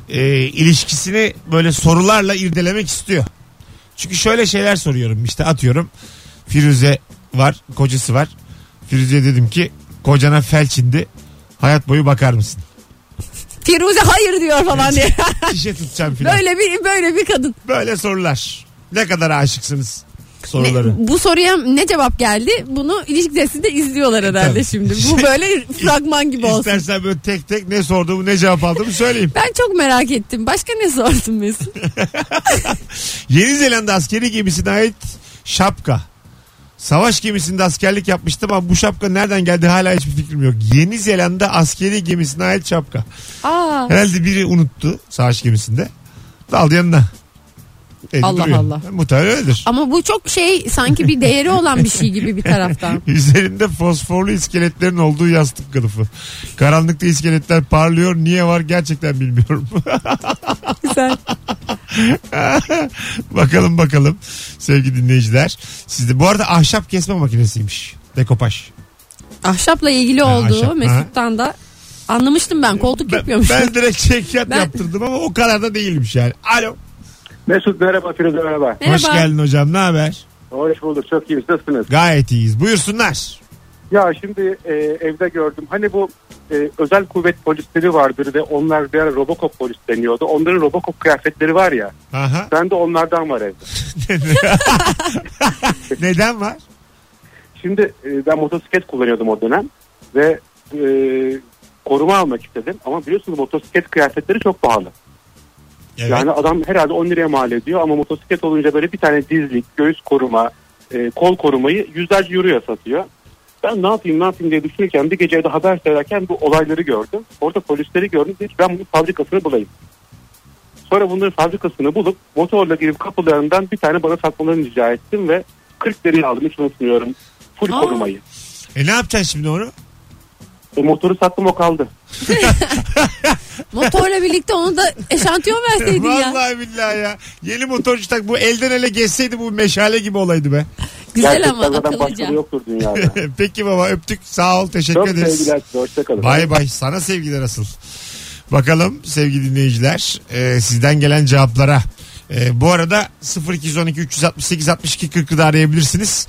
Speaker 2: e, ilişkisini böyle sorularla irdelemek istiyor. Çünkü şöyle şeyler soruyorum işte atıyorum. Firuze var, kocası var. Firuze dedim ki kocana felç indi. Hayat boyu bakar
Speaker 3: [laughs]
Speaker 2: mısın?
Speaker 3: Firuze hayır diyor falan diye.
Speaker 2: [laughs]
Speaker 3: [laughs]
Speaker 2: Şişe tutacağım filan. Böyle.
Speaker 3: böyle bir böyle bir kadın.
Speaker 2: sorular. Ne kadar aşıksınız
Speaker 3: Ne-
Speaker 2: soruları.
Speaker 3: bu soruya ne cevap geldi? Bunu ilişki testinde izliyorlar herhalde
Speaker 2: E, Tabii.
Speaker 3: şimdi. Bu böyle
Speaker 2: [laughs]
Speaker 3: fragman gibi olsun.
Speaker 2: İstersen böyle tek tek ne sorduğumu ne cevap aldığımı söyleyeyim.
Speaker 3: Ben çok merak ettim. Başka ne sordun Mesut?
Speaker 2: Yeni Zelanda askeri gemisine ait şapka. Savaş gemisinde askerlik yapmıştım ama bu şapka nereden geldi hala hiçbir fikrim yok. Yeni Zelanda askeri gemisine ait şapka.
Speaker 3: Aa,
Speaker 2: Herhalde biri unuttu savaş gemisinde. Daldı yanına. Evde
Speaker 3: Allah
Speaker 2: duruyor.
Speaker 3: Allah.
Speaker 2: Muhtemelen öyledir.
Speaker 3: ama bu çok şey sanki bir değeri olan bir şey gibi
Speaker 2: [laughs]
Speaker 3: bir taraftan.
Speaker 2: Üzerinde fosforlu iskeletlerin olduğu yastık kılıfı. Karanlıkta iskeletler parlıyor. Niye var gerçekten bilmiyorum. [laughs]
Speaker 3: Güzel.
Speaker 2: bakalım bakalım sevgili dinleyiciler. Sizde bu arada ahşap kesme makinesiymiş. Dekopaj.
Speaker 3: Ahşapla ilgili
Speaker 2: Ha,
Speaker 3: olduğu
Speaker 2: ahşap, ha.
Speaker 3: Mesut'tan da anlamıştım ben. Koltuk
Speaker 2: Ben,
Speaker 3: yapıyormuş.
Speaker 2: ben direkt çekyat
Speaker 3: Ben-
Speaker 2: yaptırdım ama o kadar da değilmiş yani. Alo.
Speaker 4: Mesut merhaba Firuze merhaba.
Speaker 3: [laughs] Merhaba.
Speaker 2: Hoş geldin hocam ne haber?
Speaker 4: Hoş bulduk çok iyi nasılsınız?
Speaker 2: Gayet iyiyiz. Buyursunlar.
Speaker 4: Ya şimdi e, evde gördüm hani bu e, özel kuvvet polisleri vardır ve onlar bir ara Robocop polis deniyordu. Onların Robocop kıyafetleri var ya
Speaker 2: Aha.
Speaker 4: ben de onlardan var evde.
Speaker 2: Neden var?
Speaker 4: Şimdi e, ben motosiklet kullanıyordum o dönem ve e, koruma almak istedim ama biliyorsunuz motosiklet kıyafetleri çok pahalı.
Speaker 2: Evet.
Speaker 4: Yani adam herhalde 10 liraya mal ediyor ama motosiklet olunca böyle bir tane dizlik, göğüs koruma, e, kol korumayı yüzlerce euroya satıyor. Ben ne yapayım ne yapayım diye düşünürken bir gece evde haber seyrederken bu olayları gördüm. Orada polisleri gördüm. Dedim ki, ben bunun fabrikasını bulayım. Sonra bunların fabrikasını bulup motorla girip kapılarından bir tane bana satmalarını rica ettim ve 40 liraya aldım hiç unutmuyorum. Full
Speaker 3: Aa.
Speaker 4: korumayı.
Speaker 2: E ne yapacaksın şimdi onu?
Speaker 4: E, motoru sattım o kaldı.
Speaker 3: Motorla birlikte onu da eşantiyon verseydin ya.
Speaker 2: Vallahi billahi ya. Yeni motorcu tak bu elden ele geçseydi bu meşale gibi olaydı be. [laughs]
Speaker 3: Güzel ama
Speaker 4: Gerçekten zaten
Speaker 3: akıllıca.
Speaker 4: başkaları yoktur dünyada.
Speaker 2: Peki baba öptük. Sağ ol. Teşekkür
Speaker 4: Çok
Speaker 2: ederiz.
Speaker 4: sevgiler size. Hoşçakalın.
Speaker 2: Bay bay. Sana sevgiler asıl. Bakalım sevgili dinleyiciler e, sizden gelen cevaplara. E, bu arada 0212 368 62 40'ı da arayabilirsiniz.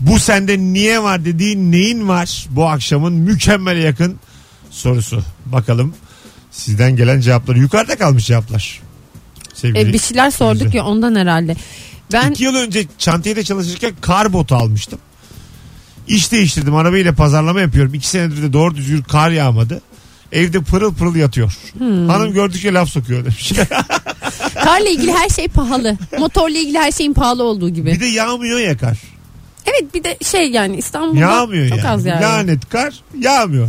Speaker 2: Bu sende niye var dediğin neyin var bu akşamın mükemmele yakın sorusu. Bakalım sizden gelen cevapları. Yukarıda kalmış cevaplar. Sevgili.
Speaker 3: E, bir şeyler sorduk ya ondan herhalde. Ben
Speaker 2: İki yıl önce çantayı da çalışırken kar botu almıştım. İş değiştirdim arabayla pazarlama yapıyorum. İki senedir de doğru düzgün kar yağmadı. Evde pırıl pırıl yatıyor.
Speaker 3: Hmm.
Speaker 2: Hanım gördükçe laf sokuyor demiş.
Speaker 3: karla ilgili her şey pahalı. Motorla ilgili her şeyin pahalı
Speaker 2: [laughs]
Speaker 3: olduğu
Speaker 2: bir
Speaker 3: gibi.
Speaker 2: de yağmıyor ya kar.
Speaker 3: Evet bir de şey yani İstanbul'da
Speaker 2: Yağmıyor
Speaker 3: çok
Speaker 2: yani.
Speaker 3: az yer. var.
Speaker 2: Lanet kar yağmıyor.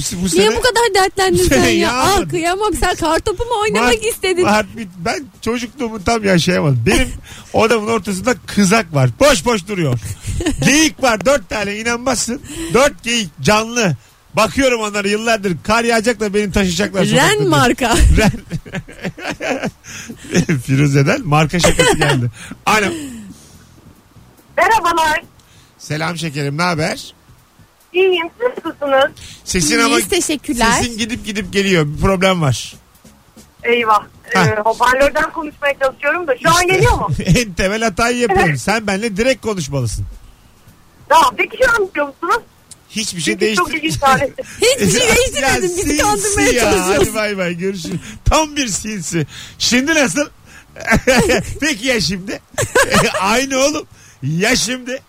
Speaker 2: Bu, bu sene
Speaker 3: Niye bu kadar dertlendin sen
Speaker 2: Sene
Speaker 3: ya? Al
Speaker 2: yağmadı.
Speaker 3: kıyamam sen kartopu mu oynamak
Speaker 2: Mart-
Speaker 3: istedin?
Speaker 2: Mart bit- ben çocukluğumu tam yaşayamadım.
Speaker 3: [laughs]
Speaker 2: Benim odamın ortasında kızak var. Boş boş duruyor. geyik var dört tane inanmazsın. Dört geyik canlı. Bakıyorum onlara yıllardır kar yağacak da beni taşıyacaklar. sokakta
Speaker 3: Ren
Speaker 2: diye.
Speaker 3: marka.
Speaker 2: [laughs] Ren. Firuze'den marka şakası geldi. Alo.
Speaker 8: Merhabalar.
Speaker 2: Selam şekerim ne haber?
Speaker 8: İyiyim. Siz nasılsınız?
Speaker 2: Sesin ama
Speaker 3: İyiyiz teşekkürler.
Speaker 2: sesin gidip gidip geliyor. Bir problem var.
Speaker 8: Eyvah.
Speaker 2: Ha.
Speaker 8: Ee, hoparlörden konuşmaya çalışıyorum da şu an geliyor mu?
Speaker 2: [laughs] en temel hatayı yapıyorum. Sen benimle direkt konuşmalısın.
Speaker 8: Tamam. Peki şu an biliyor musunuz?
Speaker 2: Hiçbir şey
Speaker 8: Çünkü çok
Speaker 2: değiştir.
Speaker 8: ilginç
Speaker 2: [laughs]
Speaker 8: tanesi.
Speaker 3: Hiçbir şey
Speaker 2: Ya
Speaker 3: değiştirmedin bizi
Speaker 2: sinsi
Speaker 3: kandırmaya
Speaker 2: ya. Hadi
Speaker 3: çalışıyorsun.
Speaker 2: bay bay görüşürüz. Tam bir sinsi. Şimdi
Speaker 3: [laughs]
Speaker 2: nasıl? Peki ya şimdi? [laughs] Aynı oğlum. Ya şimdi?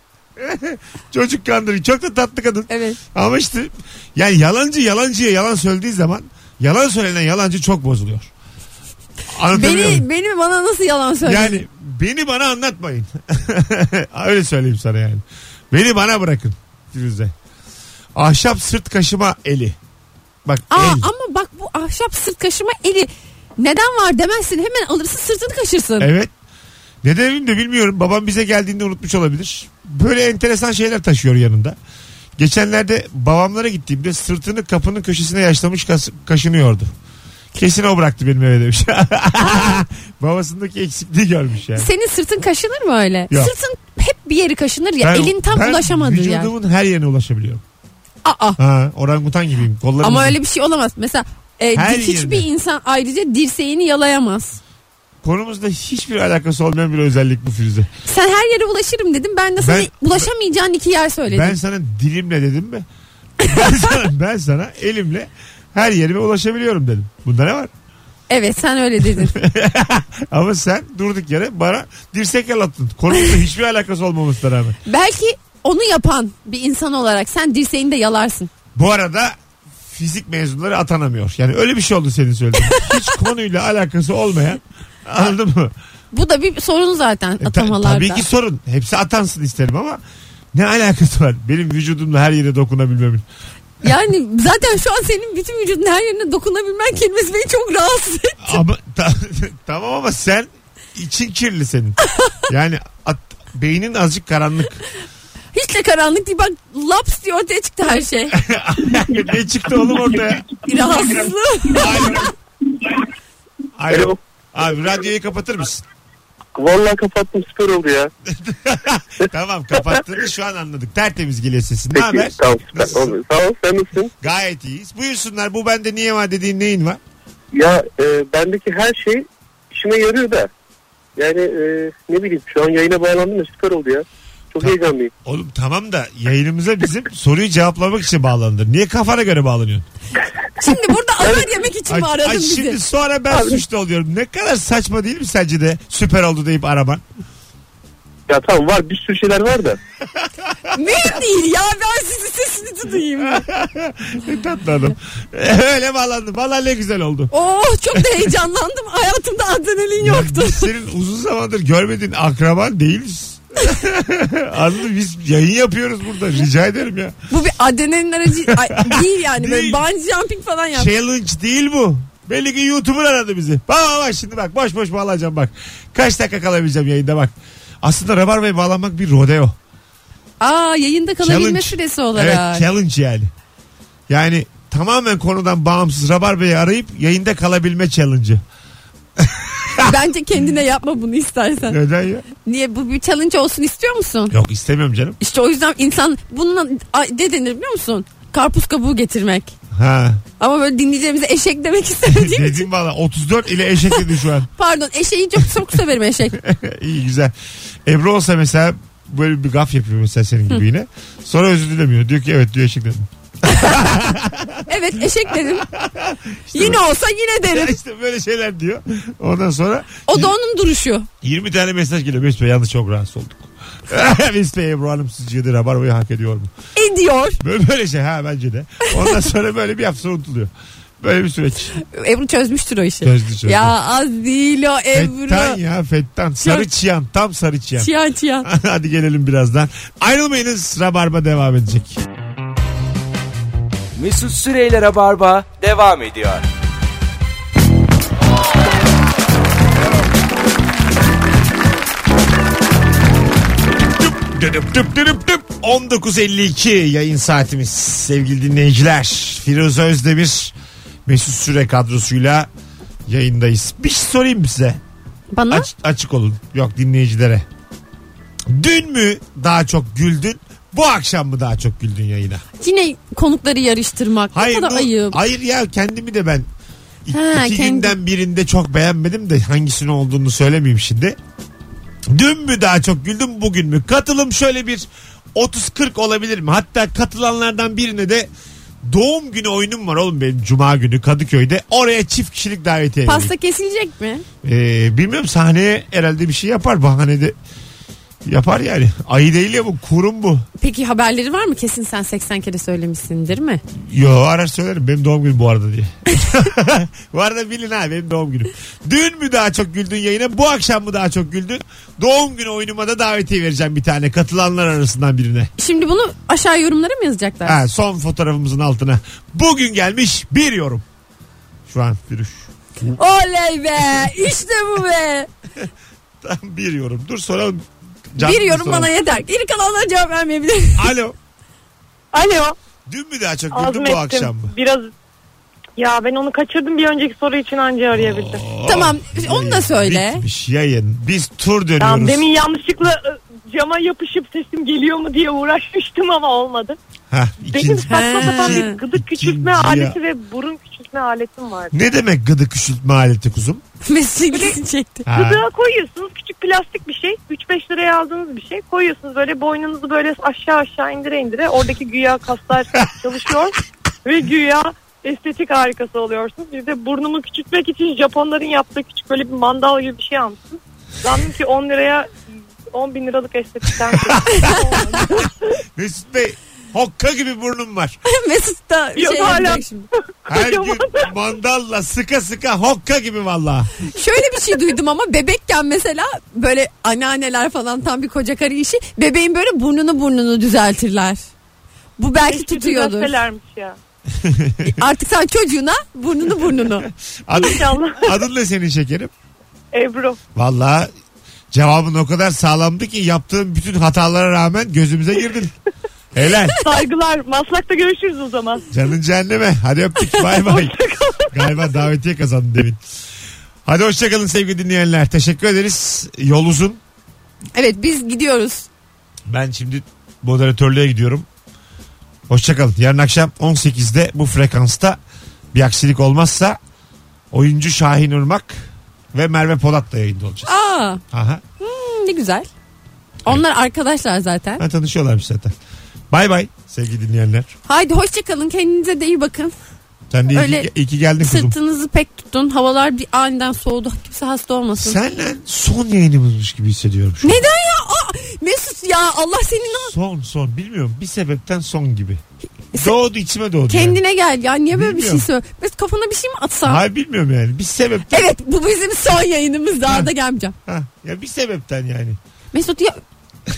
Speaker 2: [laughs] Çocuk kandırıyor. Çok da tatlı kadın.
Speaker 3: Evet.
Speaker 2: Ama işte yani yalancı yalancıya yalan söylediği zaman yalan söylenen yalancı çok bozuluyor. Anlatabiliyor muyum?
Speaker 3: Beni, beni bana nasıl yalan söyledin?
Speaker 2: Yani beni bana anlatmayın. [laughs] Öyle söyleyeyim sana yani. Beni bana bırakın Firuze. Ahşap sırt kaşıma eli. Bak
Speaker 3: Aa,
Speaker 2: el.
Speaker 3: ama bak bu ahşap sırt kaşıma eli neden var demezsin hemen alırsın sırtını kaşırsın.
Speaker 2: Evet. Nedenini de bilmiyorum. Babam bize geldiğinde unutmuş olabilir. Böyle enteresan şeyler taşıyor yanında. Geçenlerde babamlara gittiğimde sırtını kapının köşesine yaşlamış kas- kaşınıyordu. Kesin o bıraktı benim eve demiş. [laughs] Babasındaki eksikliği görmüş yani.
Speaker 3: Senin sırtın kaşınır mı öyle?
Speaker 2: Yok.
Speaker 3: Sırtın hep bir yeri kaşınır ya elin tam
Speaker 2: ben
Speaker 3: ulaşamadığı yer.
Speaker 2: vücudumun her yerine ulaşabiliyorum.
Speaker 3: Aa,
Speaker 2: Ha, orangutan gibiyim. Kollarım
Speaker 3: ama
Speaker 2: uzun.
Speaker 3: öyle bir şey olamaz. Mesela e,
Speaker 2: Her
Speaker 3: hiçbir
Speaker 2: yerine.
Speaker 3: insan ayrıca dirseğini yalayamaz.
Speaker 2: Konumuzla hiçbir alakası olmayan bir özellik bu Firuze.
Speaker 3: Sen her yere ulaşırım dedim. Ben de sana
Speaker 2: Ben-
Speaker 3: ulaşamayacağın iki yer söyledim.
Speaker 2: Ben sana dilimle dedim mi? [laughs] ben, sana, ben sana elimle her yerime ulaşabiliyorum dedim. Bunda ne var?
Speaker 3: Evet sen
Speaker 2: [laughs]
Speaker 3: öyle dedin.
Speaker 2: Ama sen durduk yere bana dirsek yalattın. Konumuzla hiçbir alakası olmamasına rağmen.
Speaker 3: Belki onu yapan bir insan olarak sen dirseğini de yalarsın.
Speaker 2: Bu arada fizik mezunları atanamıyor. Yani öyle bir şey oldu senin söylediğin. Hiç konuyla alakası olmayan anladın mı?
Speaker 3: Bu da bir sorun zaten
Speaker 2: E, ta-
Speaker 3: atamalarda.
Speaker 2: tabii ki sorun. Hepsi atansın isterim ama ne alakası var? Benim vücudumla her yere dokunabilmemin.
Speaker 3: Yani zaten şu an senin bütün vücudun her yerine dokunabilmen kelimesi beni çok rahatsız etti.
Speaker 2: Ama [laughs] ta- tamam ama sen için kirli senin. Yani at- beynin azıcık karanlık. [laughs]
Speaker 3: Hiç de karanlık değil bak laps diye ortaya çıktı
Speaker 2: [laughs]
Speaker 3: her şey.
Speaker 2: ne çıktı oğlum orada ya?
Speaker 3: Rahatsızlığı.
Speaker 2: Alo.
Speaker 5: Alo.
Speaker 2: Abi radyoyu kapatır mısın? [laughs]
Speaker 5: Vallahi kapattım süper oldu ya.
Speaker 2: tamam kapattığını şu an anladık. Tertemiz geliyor sesin. Ne
Speaker 5: Peki
Speaker 2: haber?
Speaker 5: tamam süper
Speaker 2: Nasılsın?
Speaker 5: oldu. Sağ ol sen nasılsın?
Speaker 2: Gayet iyiyiz. Buyursunlar bu bende niye var dediğin neyin var?
Speaker 5: Ya e, bendeki her şey işime yarıyor da. Yani e, ne bileyim şu an yayına bağlandım da süper oldu ya. Çok heyecanlıyım.
Speaker 2: Oğlum tamam da yayınımıza bizim soruyu cevaplamak için bağlandın. Niye kafana göre bağlanıyorsun?
Speaker 3: Şimdi burada haber yemek için mi
Speaker 2: Ay-
Speaker 3: aradın
Speaker 2: ay
Speaker 3: bizi?
Speaker 2: şimdi sonra ben suçlu oluyorum. Ne kadar saçma değil mi sence de süper oldu deyip araman?
Speaker 5: Ya tamam var bir sürü şeyler var da.
Speaker 3: Mühim değil ya ben sizi sesini duyayım.
Speaker 2: [laughs] Ne tatlı adam. [laughs] Öyle bağlandı. Valla ne güzel oldu.
Speaker 3: Oh çok da heyecanlandım. Hayatımda adrenalin
Speaker 2: Ya
Speaker 3: yoktu.
Speaker 2: biz senin uzun zamandır görmediğin akraban değiliz. [laughs] Anladın mı? Biz yayın yapıyoruz burada. Rica ederim ya.
Speaker 3: Bu bir adrenalin aracı ay, değil yani. Böyle
Speaker 2: Değil. Şey-
Speaker 3: bungee jumping falan yap.
Speaker 2: Challenge değil bu. Belli ki YouTuber aradı bizi. Bak bak bak şimdi bak. Boş boş bağlanacağım bak. Kaç dakika kalabileceğim yayında bak. Aslında Rabarba'ya bağlanmak bir rodeo.
Speaker 3: Aa yayında kalabilme
Speaker 2: Challenge.
Speaker 3: süresi olarak.
Speaker 2: Evet challenge yani. Yani tamamen konudan bağımsız Rabarba'yı arayıp yayında kalabilme
Speaker 3: [laughs]
Speaker 2: challenge'ı.
Speaker 3: Bence kendine yapma bunu istersen.
Speaker 2: Neden ya?
Speaker 3: Niye bu bir challenge olsun istiyor musun?
Speaker 2: Yok istemiyorum canım.
Speaker 3: İşte o yüzden insan bununla ay, ne denir biliyor musun? Karpuz kabuğu getirmek. [laughs]
Speaker 2: Ha.
Speaker 3: Ama böyle dinleyeceğimize eşek demek
Speaker 2: [laughs]
Speaker 3: istemediğim için.
Speaker 2: Dedim valla 34 ile eşek dedi şu an.
Speaker 3: [laughs]
Speaker 2: [laughs]
Speaker 3: Pardon eşeği çok, çok severim eşek.
Speaker 2: İyi güzel. Ebru olsa mesela böyle bir gaf yapıyor mesela senin gibi yine. Sonra özür dilemiyor. Diyor ki evet diyor eşek
Speaker 3: [laughs]
Speaker 2: dedim.
Speaker 3: Evet
Speaker 2: [laughs]
Speaker 3: eşek dedim. yine olsa yine
Speaker 2: Ya
Speaker 3: derim.
Speaker 2: işte böyle şeyler diyor. Ondan sonra
Speaker 3: O da onun duruşu.
Speaker 2: 20 tane mesaj geliyor. Mesut Bey yalnız çok rahatsız olduk. [laughs] Mesut Bey Ebru Hanım sizce de rabarbayı hak ediyor mu?
Speaker 3: Ediyor.
Speaker 2: Böyle, böyle şey ha bence de. Ondan sonra böyle bir hafta sonra unutuluyor. Böyle bir süreç.
Speaker 3: Ebru çözmüştür o işi.
Speaker 2: Çözdü, çözdü.
Speaker 3: Ya az değil o
Speaker 2: Fettan
Speaker 3: Ebru.
Speaker 2: ya Fettan. Sarı çiyan. Tam sarı çiyan.
Speaker 3: Çiyan çiyan.
Speaker 2: [laughs] Hadi gelelim birazdan. Ayrılmayınız. Rabarba devam edecek.
Speaker 1: Mesut Süreyler'e barba devam ediyor.
Speaker 2: Düdüp düp düdüp düp. 19.52 yayın saatimiz sevgili dinleyiciler. Firuze Özdemir Mesut Süre kadrosuyla yayındayız. Bir şey sorayım mı size?
Speaker 3: Bana
Speaker 2: Aç- açık olun. Yok dinleyicilere. Dün mü daha çok güldün? Bu akşam mı daha çok güldün yayına?
Speaker 3: yine konukları yarıştırmak.
Speaker 2: Hayır,
Speaker 3: ne kadar
Speaker 2: bu-
Speaker 3: ayıp.
Speaker 2: hayır ya kendimi de ben iki,
Speaker 3: Ha,
Speaker 2: iki
Speaker 3: kendi-
Speaker 2: günden birinde çok beğenmedim de hangisinin olduğunu söylemeyeyim şimdi. Dün mü daha çok güldüm bugün mü? Katılım şöyle bir 30-40 olabilir mi? Hatta katılanlardan birine de doğum günü oyunum var oğlum benim cuma günü Kadıköy'de. Oraya çift kişilik davetiye vereyim.
Speaker 3: Pasta kesilecek mi?
Speaker 2: Ee, bilmiyorum sahneye herhalde bir şey yapar bahanede. Yapar yani. Ayı değil ya bu kurum bu.
Speaker 3: Peki haberleri var mı? Kesin sen 80 kere söylemişsindir mi?
Speaker 2: Yo arar söylerim benim doğum günüm bu arada diye. [laughs] bu arada bilin ha benim doğum günüm. Dün mü daha çok güldün yayına bu akşam mı daha çok güldün? Doğum günü oyunuma da davetiye vereceğim bir tane katılanlar arasından birine.
Speaker 3: Şimdi bunu aşağı yorumlara mı yazacaklar?
Speaker 2: Ha, son fotoğrafımızın altına. Bugün gelmiş bir yorum. Şu an Firuş.
Speaker 3: Oley be! İşte
Speaker 8: [laughs]
Speaker 3: bu be!
Speaker 2: Tam bir yorum. Dur soralım. Canlı
Speaker 3: Bir yorum
Speaker 2: soralım.
Speaker 3: bana yeter. Geri kalanlara cevap vermeyebilirim.
Speaker 8: [laughs]
Speaker 2: Alo.
Speaker 8: Alo.
Speaker 2: Dün mü daha çok güldün
Speaker 8: Azmettim.
Speaker 2: bu akşam mı?
Speaker 8: Biraz ya ben onu kaçırdım bir önceki soru için anca arayabildim.
Speaker 3: [laughs] tamam onu da söyle.
Speaker 2: Oh, Bitmiş yayın. Biz
Speaker 8: Tamam,
Speaker 2: tur dönüyoruz.
Speaker 8: demin yanlışlıkla e, cama yapışıp sesim geliyor mu diye uğraşmıştım ama olmadı. [laughs]
Speaker 2: Hah,
Speaker 8: Benim
Speaker 2: ikinci-
Speaker 8: saçma sapan
Speaker 3: He.
Speaker 8: bir gıdık küçültme
Speaker 2: İkinci
Speaker 8: aleti ve burun küçültme aletim vardı.
Speaker 2: Ne demek gıdı küçültme aleti kuzum?
Speaker 8: [laughs]
Speaker 3: Mesleğini çekti.
Speaker 2: Ha.
Speaker 8: Gıdığa koyuyorsunuz küçük plastik bir şey. 3-5 liraya aldığınız bir şey. Koyuyorsunuz böyle boynunuzu böyle aşağı aşağı indire indire. Oradaki güya kaslar çalışıyor. ve güya estetik harikası oluyorsunuz. Bir de burnumu küçültmek için Japonların yaptığı küçük böyle bir mandal gibi bir şey almışsınız. Zannedim ki 10 liraya 10 bin liralık estetikten
Speaker 2: Mesut Bey hokka gibi burnum var.
Speaker 3: Mesut da
Speaker 8: Yok,
Speaker 3: şey
Speaker 8: hala-
Speaker 3: yapacak şimdi.
Speaker 2: Her gün mandalla sıka sıka hokka gibi valla.
Speaker 3: Şöyle bir şey duydum ama bebekken mesela böyle anneanneler falan tam bir koca karı işi. Bebeğin böyle burnunu burnunu düzeltirler. Bu belki
Speaker 8: Keşke
Speaker 3: tutuyordur.
Speaker 8: düzeltselermiş ya.
Speaker 3: [laughs] Artık sen çocuğuna
Speaker 8: [laughs]
Speaker 3: burnunu burnunu.
Speaker 2: Adın,
Speaker 8: İnşallah.
Speaker 2: [laughs] adın ne senin şekerim?
Speaker 8: Ebru.
Speaker 2: Valla cevabın o kadar sağlamdı ki yaptığın bütün hatalara rağmen gözümüze girdin. Helal.
Speaker 8: Saygılar. Maslak'ta görüşürüz o zaman.
Speaker 2: Canın cehenneme. Hadi öptük. Bay bay. Galiba davetiye kazandın demin. Hadi hoşçakalın sevgili dinleyenler. Teşekkür ederiz. Yol uzun.
Speaker 3: Evet biz gidiyoruz.
Speaker 2: Ben şimdi moderatörlüğe gidiyorum. Hoşçakalın. Yarın akşam 18'de bu frekansta bir aksilik olmazsa oyuncu Şahin Irmak ve Merve Polat'la yayında olacağız.
Speaker 3: Aa hmm,
Speaker 2: Aha.
Speaker 3: ne güzel. Onlar arkadaşlar zaten.
Speaker 2: Ha, tanışıyorlarmış zaten. Bay bay sevgili dinleyenler.
Speaker 3: Haydi hoşçakalın kendinize de iyi bakın.
Speaker 2: Sen de iyi,
Speaker 3: Öyle
Speaker 2: ki- iyi ki geldin kuzum.
Speaker 3: Sırtınızı pek tutun. Havalar bir aniden soğudu. Kimse hasta olmasın.
Speaker 2: Senle son yayınımızmış gibi hissediyorum şu an.
Speaker 3: Neden ya? Aa, Mesut ya Allah senin o-
Speaker 2: Son son bilmiyorum bir sebepten son gibi.
Speaker 3: Se-
Speaker 2: Doğdu içime doğdu. Yani.
Speaker 3: Kendine gel ya. Niye böyle bir şey
Speaker 2: Bilmiyorum.
Speaker 3: söyle? Mesut kafana bir şey mi atsan?
Speaker 2: Hayır bilmiyorum yani bir sebepten.
Speaker 3: Evet bu bizim son yayınımız. Daha da gelmeyeceğim.
Speaker 2: Ha, ya bir sebepten yani.
Speaker 3: Mesut ya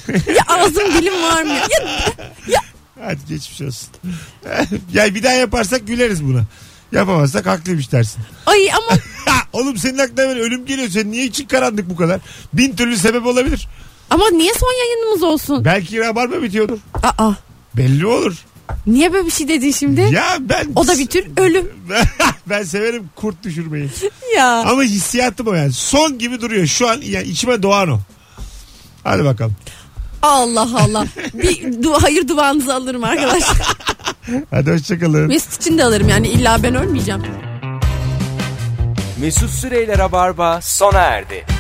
Speaker 3: ya ağzım dilim var mı? Ya,
Speaker 2: Hadi geçmiş olsun. [laughs] ya bir daha yaparsak güleriz buna. Yapamazsak haklıymış dersin. [laughs]
Speaker 3: ay ama
Speaker 2: Ha, oğlum senin aklına böyle ölüm geliyor. Senin niye için karanlık bu kadar? Bin türlü sebep olabilir.
Speaker 3: ama niye son yayınımız olsun?
Speaker 2: Belki rabarba bitiyordur.
Speaker 3: Aa
Speaker 2: Belli olur.
Speaker 3: niye böyle bir şey dedin şimdi?
Speaker 2: Ya ben...
Speaker 3: O da bir tür ölüm
Speaker 2: [laughs] ben severim kurt düşürmeyi.
Speaker 3: ya.
Speaker 2: Ama hissiyatım o yani. Son gibi duruyor. Şu an yani içime doğan o. Hadi bakalım.
Speaker 3: Allah Allah. Bir du- hayır duanızı alırım arkadaşlar.
Speaker 2: [laughs] Hadi hoşçakalın.
Speaker 3: Mesut için de alırım yani illa ben ölmeyeceğim.
Speaker 1: Mesut Süreyler'e barba sona erdi.